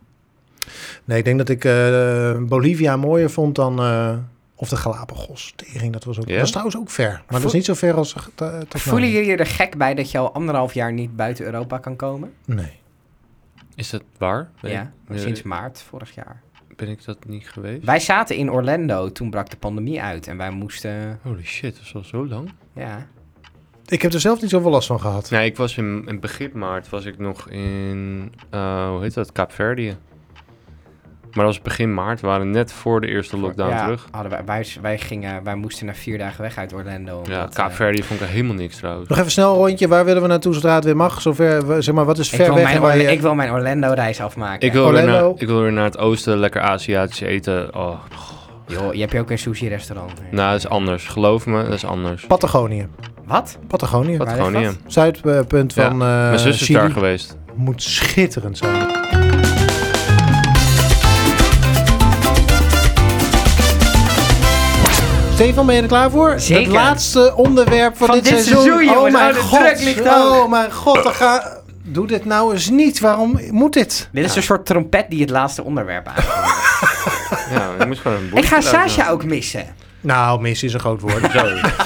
nee, ik denk dat ik eh, Bolivia mooier vond dan. eh, of de Galapagos. Tering, dat was ook. Ja? Dat is trouwens ook ver. Maar dat Voel- is niet zo ver als. eh, Voelen Tasmanië. jullie je er gek bij dat je al anderhalf jaar niet buiten Europa kan komen? Nee. Is dat waar? Ben Ja, ik- sinds maart vorig jaar. Ben ik dat niet geweest? Wij zaten in Orlando, toen brak de pandemie uit en wij moesten, Holy shit, dat is al zo lang. ja. Ik heb er zelf niet zoveel last van gehad. Nee, ik was in, in begin maart was ik nog in, eh, hoe heet dat, Kaapverdië. Maar dat was begin maart, we waren net voor de eerste lockdown ja, terug. Hadden wij, wij, wij, gingen, wij moesten na vier dagen weg uit Orlando. Ja, omdat, eh, Kaapverdië vond ik helemaal niks trouwens. Nog even snel een rondje. Waar willen we naartoe zodra het weer mag? Zover, we- zeg maar, wat is ik, ver wil weg? en mijn waar Orla- je- ik wil mijn Orlando-reis afmaken. Ik wil, weer Orlando. naar, ik wil weer naar het oosten, lekker Aziatisch eten. Oh, Joh, je hebt hier ook een sushi-restaurant. hè? nou, dat is anders. Geloof me, dat is anders. Patagonië. Wat? Patagonië. Dat waar gewoon niet. ligt Zuidpunt Ja, van. eh Mijn zus is Chili. daar geweest. Moet schitterend zijn. Stefan, ben je er klaar voor? Zeker. Het laatste onderwerp van, Van dit seizoen. seizoen, oh jongens. mijn Oh, de god. druk ligt hoog. oh mijn god. dan Ga... Doe dit nou eens niet. Waarom moet dit? Dit is een soort trompet die het laatste onderwerp aangeeft. Ja, ik moest gewoon een ik ga boekje lezen. Sasha ook missen. Nou, mis is een groot woord.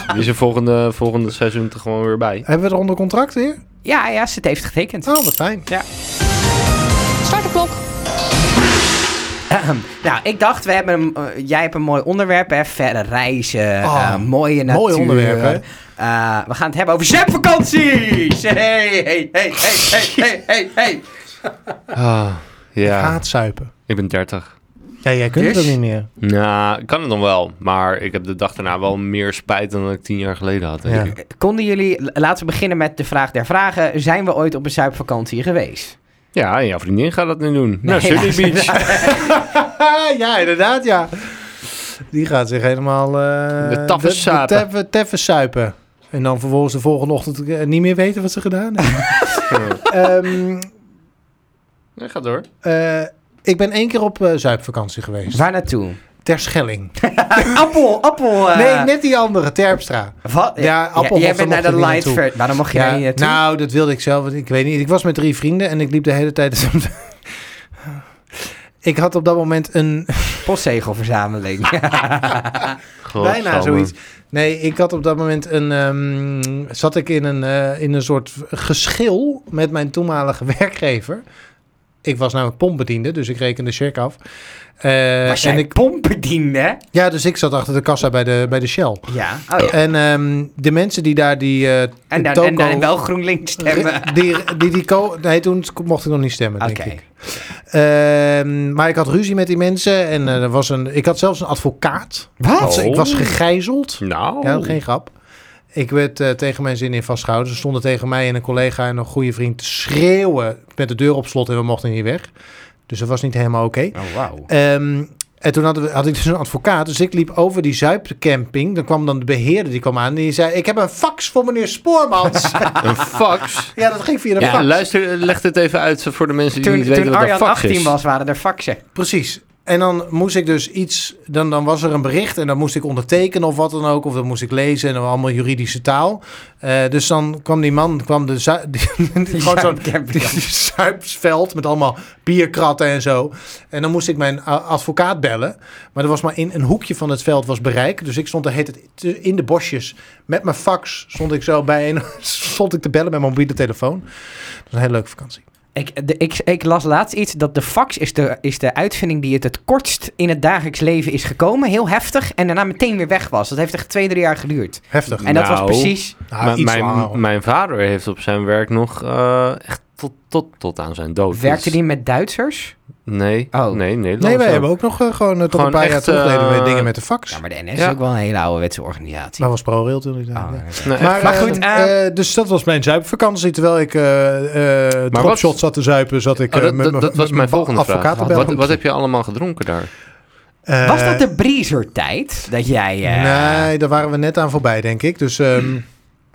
Die is er volgende, volgende seizoen er gewoon weer bij. Hebben we het onder contract weer? Ja, ja, ze het heeft getekend. Oh, wat fijn. Start de klok. Ahem. Nou, ik dacht, we hebben een, eh, jij hebt een mooi onderwerp, hè? Verre reizen, Oh, eh, mooie natuur. mooi onderwerp, hè? Eh, we gaan het hebben over zwemvakanties! Hey, hey, hey, hey, hey, hey, hey, hey. Ah, Ga ja, het zuipen. ik ben 30. Ja, jij kunt Dus? het ook niet meer. Nou, ik kan het nog wel. Maar ik heb de dag daarna wel meer spijt dan dat ik tien jaar geleden had. denk Ja. ik. Konden jullie, l- laten we beginnen met de vraag der vragen. Zijn we ooit op een zuipvakantie geweest? ja, en jouw vriendin gaat dat nu doen. Nee, Naar Sunny ja. Beach. ja, inderdaad, ja. Die gaat zich helemaal... eh, De taffen sapen. De teffen, teffen suipen. En dan vervolgens de volgende ochtend eh, niet meer weten wat ze gedaan hebben. Ehm, Ja, ga door. eh, ik ben één keer op eh, zuipvakantie geweest. Waar naartoe? Terschelling. appel, appel. eh, Ah. Nee, net die andere, Terpstra. Wat? Ja, appel jij was bent er nog naar de niet light naartoe. ver- Waarom mocht je daar niet naartoe? nou, dat wilde ik zelf. want Ik weet niet. Ik was met drie vrienden en ik liep de hele tijd... ik had op dat moment een, Postzegelverzameling. Bijna Godsamme. zoiets. Nee, ik had op dat moment een. ehm, zat ik in een, eh, in een soort geschil met mijn toenmalige werkgever. Ik was namelijk pompbediende, dus ik rekende check af. Eh, Was jij en ik... ik, pompbediende? ja, dus ik zat achter de kassa bij de, bij de Shell. Ja. Oh, ja. En ehm, de mensen die daar die. eh, En dan, toko- en dan wel GroenLinks stemmen. Die, die, die ko- nee, toen mocht ik nog niet stemmen, Oké. denk ik. Ehm, maar ik had ruzie met die mensen. En eh, er was een, ik had zelfs een advocaat. Wat? Oh. Ik was gegijzeld. Nou. Ja, geen grap. Ik werd eh, tegen mijn zin in vastgehouden. Ze stonden tegen mij en een collega en een goede vriend te schreeuwen met de deur op slot en we mochten niet weg. Dus dat was niet helemaal oké. Oh, wauw. Ehm, En toen hadden we, had ik dus een advocaat. Dus ik liep over die zuipcamping. Dan kwam dan de beheerder, die kwam aan. En die zei, ik heb een fax voor meneer Spoormans. Een fax? ja, dat ging via de Ja, fax. luister, leg dit even uit voor de mensen die Toen, niet weten toen wat een Arjan fax 18 is. was, waren er faxen. Precies. En dan moest ik dus iets, dan, dan was er een bericht en dan moest ik ondertekenen of wat dan ook. Of dat moest ik lezen en dan allemaal juridische taal. Eh, dus dan kwam die man, kwam de zu- die- gewoon zo'n die- die zuipsveld met allemaal bierkratten en zo. En dan moest ik mijn a- advocaat bellen. Maar er was maar in een hoekje van het veld was bereik. Dus ik stond er heet het te- in de bosjes met mijn fax. Stond ik zo bij en stond ik te bellen met mijn mobiele telefoon. Dat was een hele leuke vakantie. Ik, de, ik, ik las laatst iets dat de fax is de, is de uitvinding die het het kortst in het dagelijks leven is gekomen. Heel heftig. En daarna meteen weer weg was. Dat heeft echt twee, drie jaar geduurd. Heftig. En dat was Nou. precies... Nou, Mijn- iets langer, hoor. mijn, mijn vader heeft op zijn werk nog eh, echt tot, tot, tot aan zijn dood. Werkte Dus- die met Duitsers? Nee, Oh. nee, Nederlanders Nee, wij ook. hebben ook nog eh, gewoon eh, tot Gewoon een paar jaar echt, terug deden we eh, dingen met de fax. Ja, maar, maar de NS is Ja. ook wel een hele ouderwetse organisatie. was ProRail toen ik daar. Oh, ja. oké. Nee, Maar, echt. Maar goed, goed, eh, dus dat was mijn zuipvakantie. Terwijl ik eh eh Maar dropshot wat- zat te zuipen, zat ik Oh, eh, dat, met dat- mijn- dat was met mijn volgende advocaat vraag. te Wat, bellen. wat, wat heb je allemaal gedronken daar? Eh, was dat de breezertijd? Dat jij... eh, Nee, daar waren we net aan voorbij, denk ik. Dus, ehm,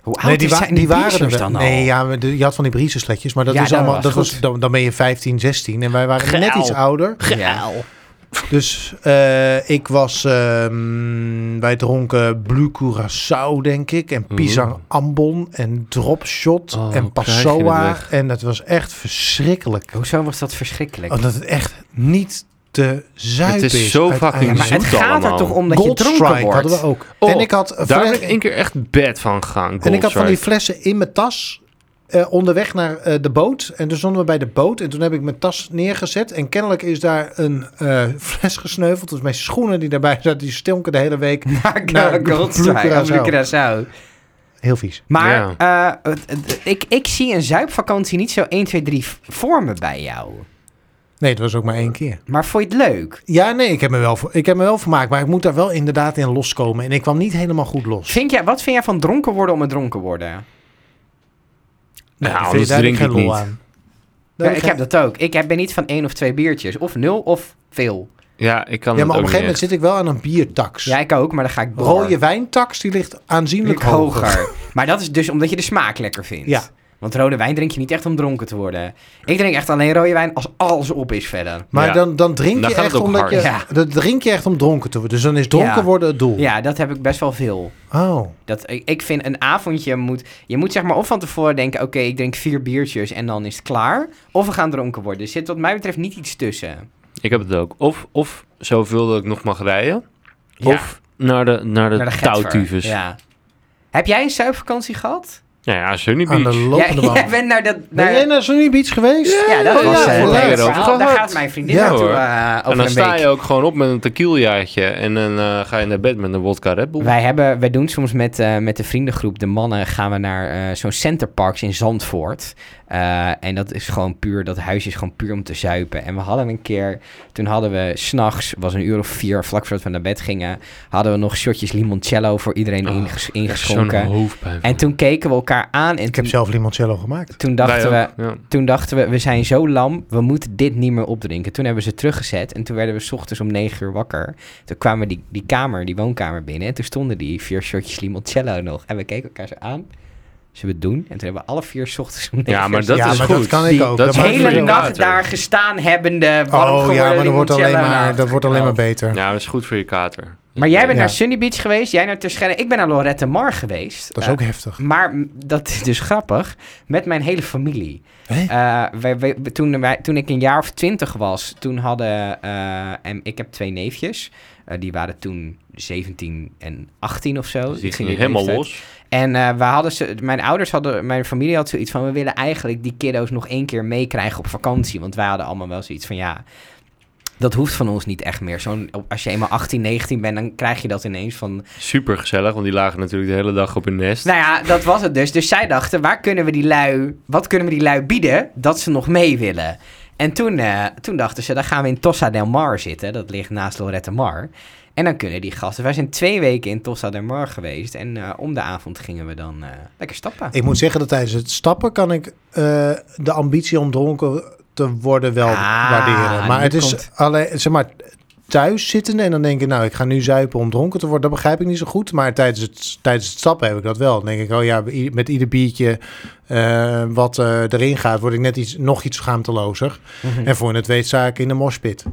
Hoe oud nee, die, wa- zijn die waren breezers er dan wel. al? Nee, ja, maar de- je had van die briezensletjes, maar dat Ja, is dat allemaal. was dat goed. was, dan, dan ben je 15, 16 en wij waren net Geil. iets ouder. Geil. Dus eh, ik was, ehm, wij dronken Blue Curaçao, denk ik. En Pisang Oeh. Ambon en Dropshot Mhm. Oh, en hoe krijg je het Passoa. weg? En dat was echt verschrikkelijk. Hoezo was dat verschrikkelijk? Omdat het echt niet te zuipen Het is. is zo uiteindelijk. fucking maar het zoet gaat er allemaal. toch om dat Gold je dronken Strike wordt? hadden we ook. Oh, en ik had, Daar ben fles- ik één keer echt bed van gegaan. en ik had van die Goldstrike. flessen in mijn tas... eh, onderweg naar eh, de boot. En toen stonden we bij de boot. En toen heb ik mijn tas neergezet. En kennelijk is daar een eh, fles gesneuveld. Dus mijn schoenen die daarbij zaten, die stonken de hele week. Naar Naar Nou, Gold Blue Strike, Curaçao. Blue Curaçao. Heel vies. Maar eh, het- het- ik, ik zie een zuipvakantie niet zo 1, 2, 3 vormen bij jou. Nee, het was ook maar één keer. Maar vond je het leuk? Ja, nee, ik heb me wel, ik heb me wel vermaakt. Maar ik moet daar wel inderdaad in loskomen. En ik kwam niet helemaal goed los. Vind jij, wat vind jij van dronken worden om het dronken worden? Nou, ik vind- anders daar heb drink ik geen lol niet. aan. Ja, ik heb dat ook. Ik heb- ben niet van één of twee biertjes. Of nul of veel. Ja, ik kan ja, het maar op ook een gegeven moment niet zit ik wel aan een biertax. Ja, ik ook, maar dan ga ik door. Rode wijntax, die ligt aanzienlijk Ligt hoger. maar dat is dus omdat je de smaak lekker vindt. Ja. Want rode wijn drink je niet echt om dronken te worden. Ik drink echt alleen rode wijn als alles op is verder. Maar Ja. dan, dan Dan drink je gaat echt het ook omdat hard. je, Ja. dan drink je echt om dronken te worden. Dus dan is dronken Ja. worden het doel. Ja, dat heb ik best wel veel. Oh. Dat, ik, ik vind een avondje moet... Je moet zeg maar of van tevoren denken... Oké, ik drink vier biertjes en dan is het klaar. Of we gaan dronken worden. Er zit wat mij betreft niet iets tussen. Ik heb het ook. Of, of zoveel dat ik nog mag rijden. Ja. Of naar de, naar de, Naar de Eh, touwtyfus. getver. Ja. Heb jij een zuipvakantie gehad? Nou ja, Sunny Aan de Beach. lopende jij, band. jij bent naar dat... Ben jij Naar, naar Sunny Beach geweest? ja, dat Oh ja, was eh, leuk. het hele Daarover verhaal. Daar gehad. gaat mijn vriendin Ja, naartoe hoor. eh, En over dan een sta week. je ook gewoon op met een tequilaatje. En dan eh, ga je naar bed met een wodka Red Bull. Wij, hebben, wij doen soms met, eh, met de vriendengroep, de mannen, gaan we naar eh, zo'n centerparks in Zandvoort. Eh, en dat is gewoon puur, dat huis is gewoon puur om te zuipen. En we hadden een keer, toen hadden we s'nachts, was een uur of vier, vlak voordat we naar bed gingen, hadden we nog shotjes limoncello voor iedereen Oh, inges- Zo'n ingeschonken. hoofdpijn. En toen keken we elkaar aan en Ik heb toen, zelf limoncello gemaakt. toen Wij dachten we, ook, ja. toen dachten we, we zijn zo lam, we moeten dit niet meer opdrinken. Toen hebben we ze teruggezet en toen werden we 's ochtends om 9 uur wakker. Toen kwamen we die, die kamer, die woonkamer binnen en toen stonden die vier shotjes limoncello nog. En we keken elkaar zo aan, zullen we het doen? En toen hebben we alle vier 's ochtends om 9 Ja, uur maar dat ja, is maar dat goed. kan ik Die- ook. dat is Dat maakt heel me hele veel niet nacht later. daar gestaan hebbende, warm uit. Oh geworden ja, maar dat wordt alleen limoncello maar, aan. dat wordt alleen maar beter. Ja, dat is goed voor je kater. Maar jij bent Ja. naar Sunny Beach geweest, jij naar Terschelling. Ik ben naar Lorette Mar geweest. Dat is Eh, ook heftig. Maar m, dat is dus grappig. Met mijn hele familie. Hè? Eh, wij- wij- we- toen, wij- toen ik een jaar of twintig was, toen hadden... eh, en ik heb twee neefjes. Eh, die waren toen 17 en 18 of zo. Dus die Die ging gingen helemaal leeftijd. los. En eh, we hadden ze, mijn ouders hadden, mijn familie had zoiets van... we willen eigenlijk die kiddo's nog één keer meekrijgen op vakantie. Want wij hadden allemaal wel zoiets van, ja... Dat hoeft van ons niet echt meer. Zo'n, als je eenmaal 18, 19 bent, dan krijg je dat ineens van... Super gezellig, want die lagen natuurlijk de hele dag op hun nest. Nou ja, dat was het dus. Dus zij dachten, waar kunnen we die lui, wat kunnen we die lui bieden dat ze nog mee willen? En toen, eh, toen dachten ze, dan gaan we in Tossa del Mar zitten. Dat ligt naast Lorette Mar. En dan kunnen die gasten... Wij zijn twee weken in Tossa del Mar geweest. En eh, om de avond gingen we dan eh, lekker stappen. Ik moet zeggen dat tijdens het stappen kan ik eh, de ambitie om dronken te worden wel Ah, waarderen. Maar nu het is komt- alleen, zeg maar, thuis zitten en dan denken, nou, ik ga nu zuipen om dronken te worden, dat begrijp ik niet zo goed. Maar tijdens het, tijdens het stappen heb ik dat wel. Dan denk ik, oh ja, i- met ieder biertje eh, wat eh, erin gaat, word ik net iets, nog iets schaamtelozer. Mhm. Nou, En voor het weet sta ik in de moshpit.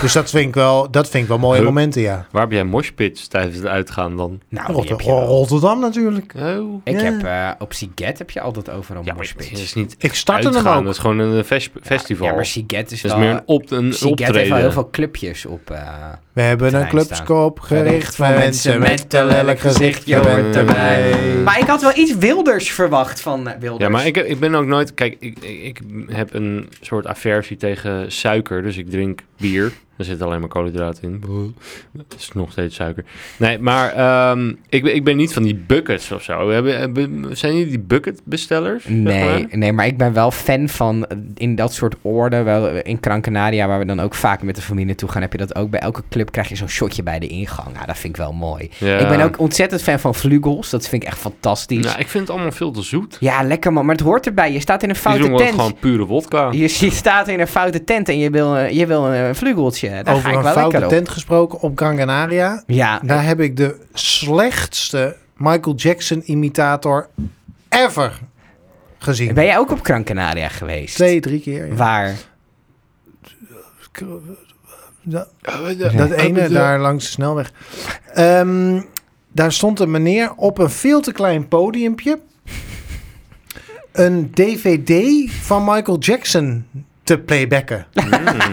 dus dat vind ik wel, dat vind ik wel mooie Huh? momenten, ja. Waar heb jij moshpits tijdens het uitgaan dan? Nou, Ah, die heb Rotter- je wel. Rotterdam natuurlijk. Oh. Ik Ja. heb eh, op Siget heb je altijd overal Ja, ja, maar het is niet Ik startte hem uitgaan, ook. dat is gewoon een fes- festival. Ja, maar Siget is dat is wel... meer een, op, een Siget optreden. heeft wel heel veel clubjes op... eh, We hebben een Terrein staan. clubscoop gericht voor mensen met een lelijk gezicht. Je hoort erbij. Maar ik had wel iets wilders verwacht van eh, Wilders. Ja, maar ik, ik ben ook nooit... Kijk, ik, ik ik heb een soort aversie tegen suiker. Dus ik drink bier. Er zit alleen maar koolhydraten in. Het is nog steeds suiker. Nee, maar ehm, ik, ben- ik ben niet van die buckets of zo. We hebben- hebben- zijn jullie die bucketbestellers? zeg Nee, maar? nee, maar ik ben wel fan van eh, in dat soort orde. Wel, eh, in Gran Canaria, waar we dan ook vaak met de familie naartoe gaan, heb je dat ook. Bij elke club krijg je zo'n shotje bij de ingang. Ja, dat vind ik wel mooi. Ja. Ik ben ook ontzettend fan van Vlugels. Dat vind ik echt fantastisch. Nou, ik vind het allemaal veel te zoet. Ja, lekker man. Maar het hoort erbij. Je staat in een Die foute doen we ook tent. gewoon pure wodka. Je je staat in een foute tent en je wil, eh, je wil een vlugeltje. Daar ga Over ik een wel foute lekker op. tent gesproken op Gran Canaria. Ja, Daar heb ik de slechtste Michael Jackson imitator ever gezien. ben jij ook op Gran Canaria geweest? Twee, drie keer. ja. Waar? Oh, Dat, dat ene daar langs de snelweg. Ehm, daar stond een meneer op een veel te klein podiumpje een DVD van Michael Jackson te playbacken.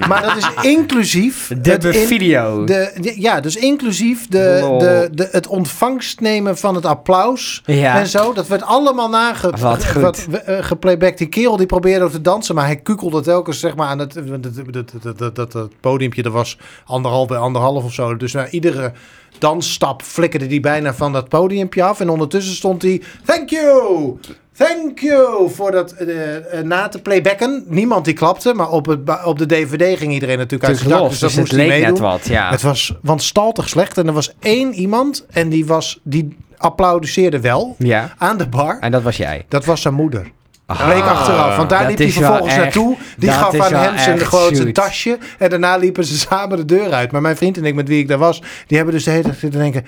Maar dat is inclusief het De in- video. De, de- ja, dus inclusief de, Lol. de, de, het ontvangst nemen van het applaus Ja. en zo. Dat werd allemaal nage, Wat ge- goed. we- eh, geplaybacked. Die kerel die probeerde ook te dansen, maar hij kukelde telkens zeg maar, aan het dat, dat, dat, dat, dat, dat podiumpje. Er was anderhalf bij anderhalf of zo. Dus na iedere dansstap flikkerde die bijna van dat podiumpje af. En ondertussen stond hij, thank you, thank you, voor dat eh, eh, na te playbacken. Niemand die klapte, maar op, het, ba- op de DVD ging iedereen natuurlijk uit Dus zijn dak. Dus los, dus, dat het moest hij leek net meedoen. wat, ja. Het was wanstaltig slecht. En er was één iemand en die, was, die applaudisseerde wel ja. aan de bar. En dat was jij. Dat was zijn moeder. Ah. Dat bleek achteraf. Want daar dat liep hij is wel vervolgens echt- naartoe. Die dat gaf is aan wel hem zijn echt gewoon zijn zoet. tasje. En daarna liepen ze samen de deur uit. Maar mijn vriend en ik, met wie ik daar was, die hebben dus de hele tijd zitten denken...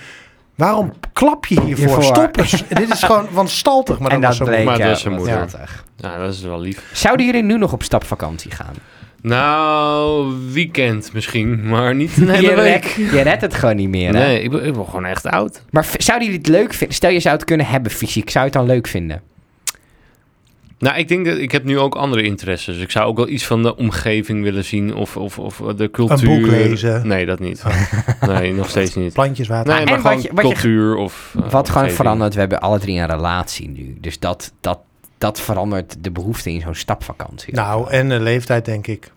Waarom klap je hiervoor? Hiervoor. Stop eens. Dit is gewoon wanstaltig. Maar en dat dat was zo bleek Maar dat eh, is zijn wat moeder. schattig. Nou, dat is wel lief. Zouden jullie nu nog op stapvakantie gaan? Nou, weekend misschien, maar niet een je, hele rek- week. je redt het gewoon niet meer, hè? Nee, ik ben, ik ben gewoon echt oud. Maar v- zouden jullie het leuk vinden? Stel, je zou het kunnen hebben fysiek. Zou je het dan leuk vinden? Nou, ik denk dat ik heb nu ook andere interesses. dus Ik zou ook wel iets van de omgeving willen zien of, of, of de cultuur. Een boek lezen. Oh. Nee, dat niet. Nee, nog steeds niet. Plantjeswater. Nee, en maar wat gewoon je- wat je- cultuur of... eh, Wat gewoon omgeving. verandert, we hebben alle drie een relatie nu. Dus dat, dat, dat verandert de behoefte in zo'n stapvakantie. Nou, en de leeftijd denk ik.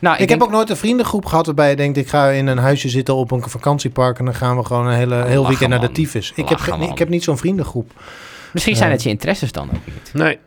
Nou, Ik, heb ook nooit een vriendengroep gehad waarbij je denkt... ik ga in een huisje zitten op een vakantiepark... en dan gaan we gewoon een hele, heel Oh, Lachen, weekend naar de man. tyfus. Ik heb, Lachen, ge- nee, man. ik heb niet zo'n vriendengroep. Misschien zijn het je interesses dan ook niet. Nee,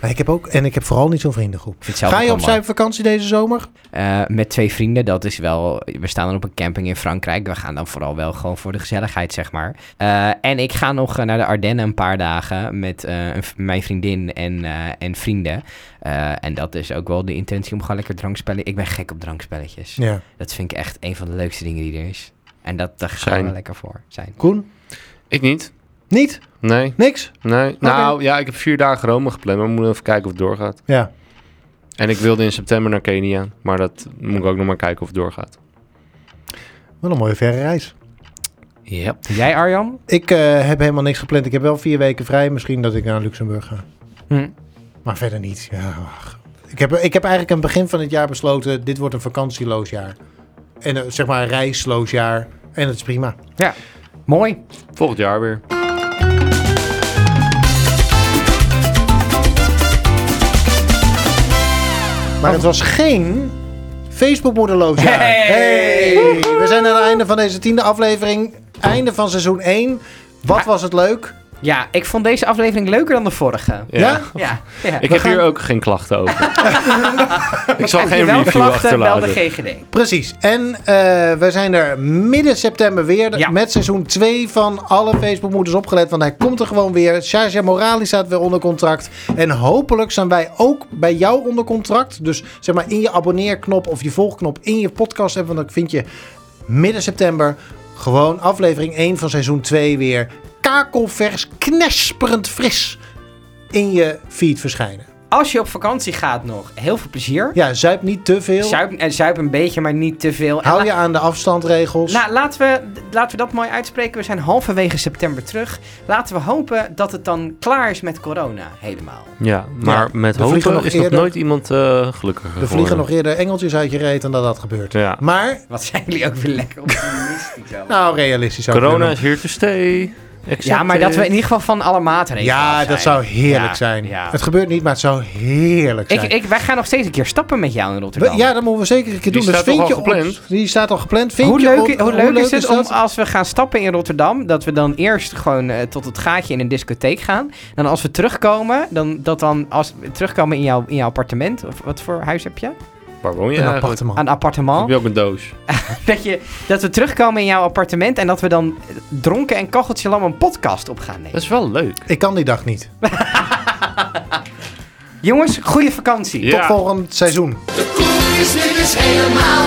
Maar ik heb ook, en ik heb vooral niet zo'n vriendengroep. Ik vind het zelf Ga ook je wel op mooi. zijn vakantie deze zomer? Eh, met twee vrienden, dat is wel... We staan dan op een camping in Frankrijk. We gaan dan vooral wel gewoon voor de gezelligheid, zeg maar. Eh, en ik ga nog eh, naar de Ardennen een paar dagen met eh, een v- mijn vriendin en, eh, en vrienden. Eh, en dat is ook wel de intentie om gewoon lekker drankspellen. Ik ben gek op drankspelletjes. Ja. Dat vind ik echt een van de leukste dingen die er is. En dat, daar gaan Zijn. we wel lekker voor zijn. Koen? ik niet. Niet? Nee, Niks? nee. Nou, ja, ik heb vier dagen Rome gepland, maar we moeten even kijken of het doorgaat. Ja. En ik wilde in september naar Kenia, maar dat moet ik ook nog maar kijken of het doorgaat. Wel een mooie verre reis. Ja. Jij, Arjan? Ik eh, heb helemaal niks gepland. Ik heb wel vier weken vrij. Misschien dat ik naar Luxemburg ga. Hm. Maar verder niet. Ja, ach. Ik, heb, ik heb eigenlijk aan het begin van het jaar besloten... dit wordt een vakantieloos jaar. En eh, zeg maar een reisloos jaar. En dat is prima. Mooi. Volgend jaar weer. Maar het was geen Facebook-moederloos jaar. Hey! Hey! We zijn aan het einde van deze tiende aflevering. Einde van seizoen 1. Wat was het leuk? Ja, ik vond deze aflevering leuker dan de vorige. Ja? ja? Ja. ja. Ik We heb gaan- hier ook geen klachten over. ik zal Heb geen je wel review klachten, bel de achterlaten. GGD. Precies. En eh we zijn er midden september weer Ja. met seizoen 2 van alle Facebookmoeders opgelet. Want hij komt er gewoon weer. Shaja Morali staat weer onder contract. En hopelijk zijn wij ook bij jou onder contract. Dus zeg maar in je abonneerknop of je volgknop in je podcast. En want dan vind je midden september. Gewoon aflevering 1 van seizoen 2 weer kakelvers, knesperend fris in je feed verschijnen. Als je op vakantie gaat nog, heel veel plezier. Ja, zuip niet te veel. Zuip, en zuip een beetje, maar niet te veel. En Hou la- je aan de afstandregels. Nou, laten we, laten we dat mooi uitspreken. We zijn halverwege september terug. Laten we hopen dat het dan klaar is met corona helemaal. Ja, maar met er vliegen hopen nog is eerder- nog nooit iemand eh gelukkiger er vliegen nog eerder engeltjes uit je reet dan dat dat gebeurt. Ja. Maar, Wat zijn jullie ook weer lekker optimistisch. allemaal. nou, realistisch ook. Corona is here to stay. Accept ja, maar dat we in it. ieder geval van alle maatregelen af eh, Ja, zijn. dat zou heerlijk Ja, zijn. ja. Het gebeurt niet, maar het zou heerlijk Ik, zijn. ik, wij gaan nog steeds een keer stappen met jou in We- Rotterdam. ja, dat moeten we zeker een Die keer doen. Dus staat toch vind al je gepland? ons- die staat al gepland. Vind Hoe je leuk, ons- hoe leuk is het om dat? als we gaan stappen in Rotterdam, dat we dan eerst gewoon eh, tot het gaatje in een discotheek gaan. Dan als we terugkomen, dan dat dan als we terugkomen in jouw, in jouw appartement, of wat voor huis heb je? Waar woon je Een eigenlijk? appartement. Een appartement. Heb je ook een doos? Dat, je, dat we terugkomen in jouw appartement en dat we dan eh, dronken en kacheltje lam een podcast op gaan nemen. Dat is wel leuk. Ik kan die dag niet. Jongens, goede vakantie. Ja. Tot volgend seizoen. De koe is weer eens helemaal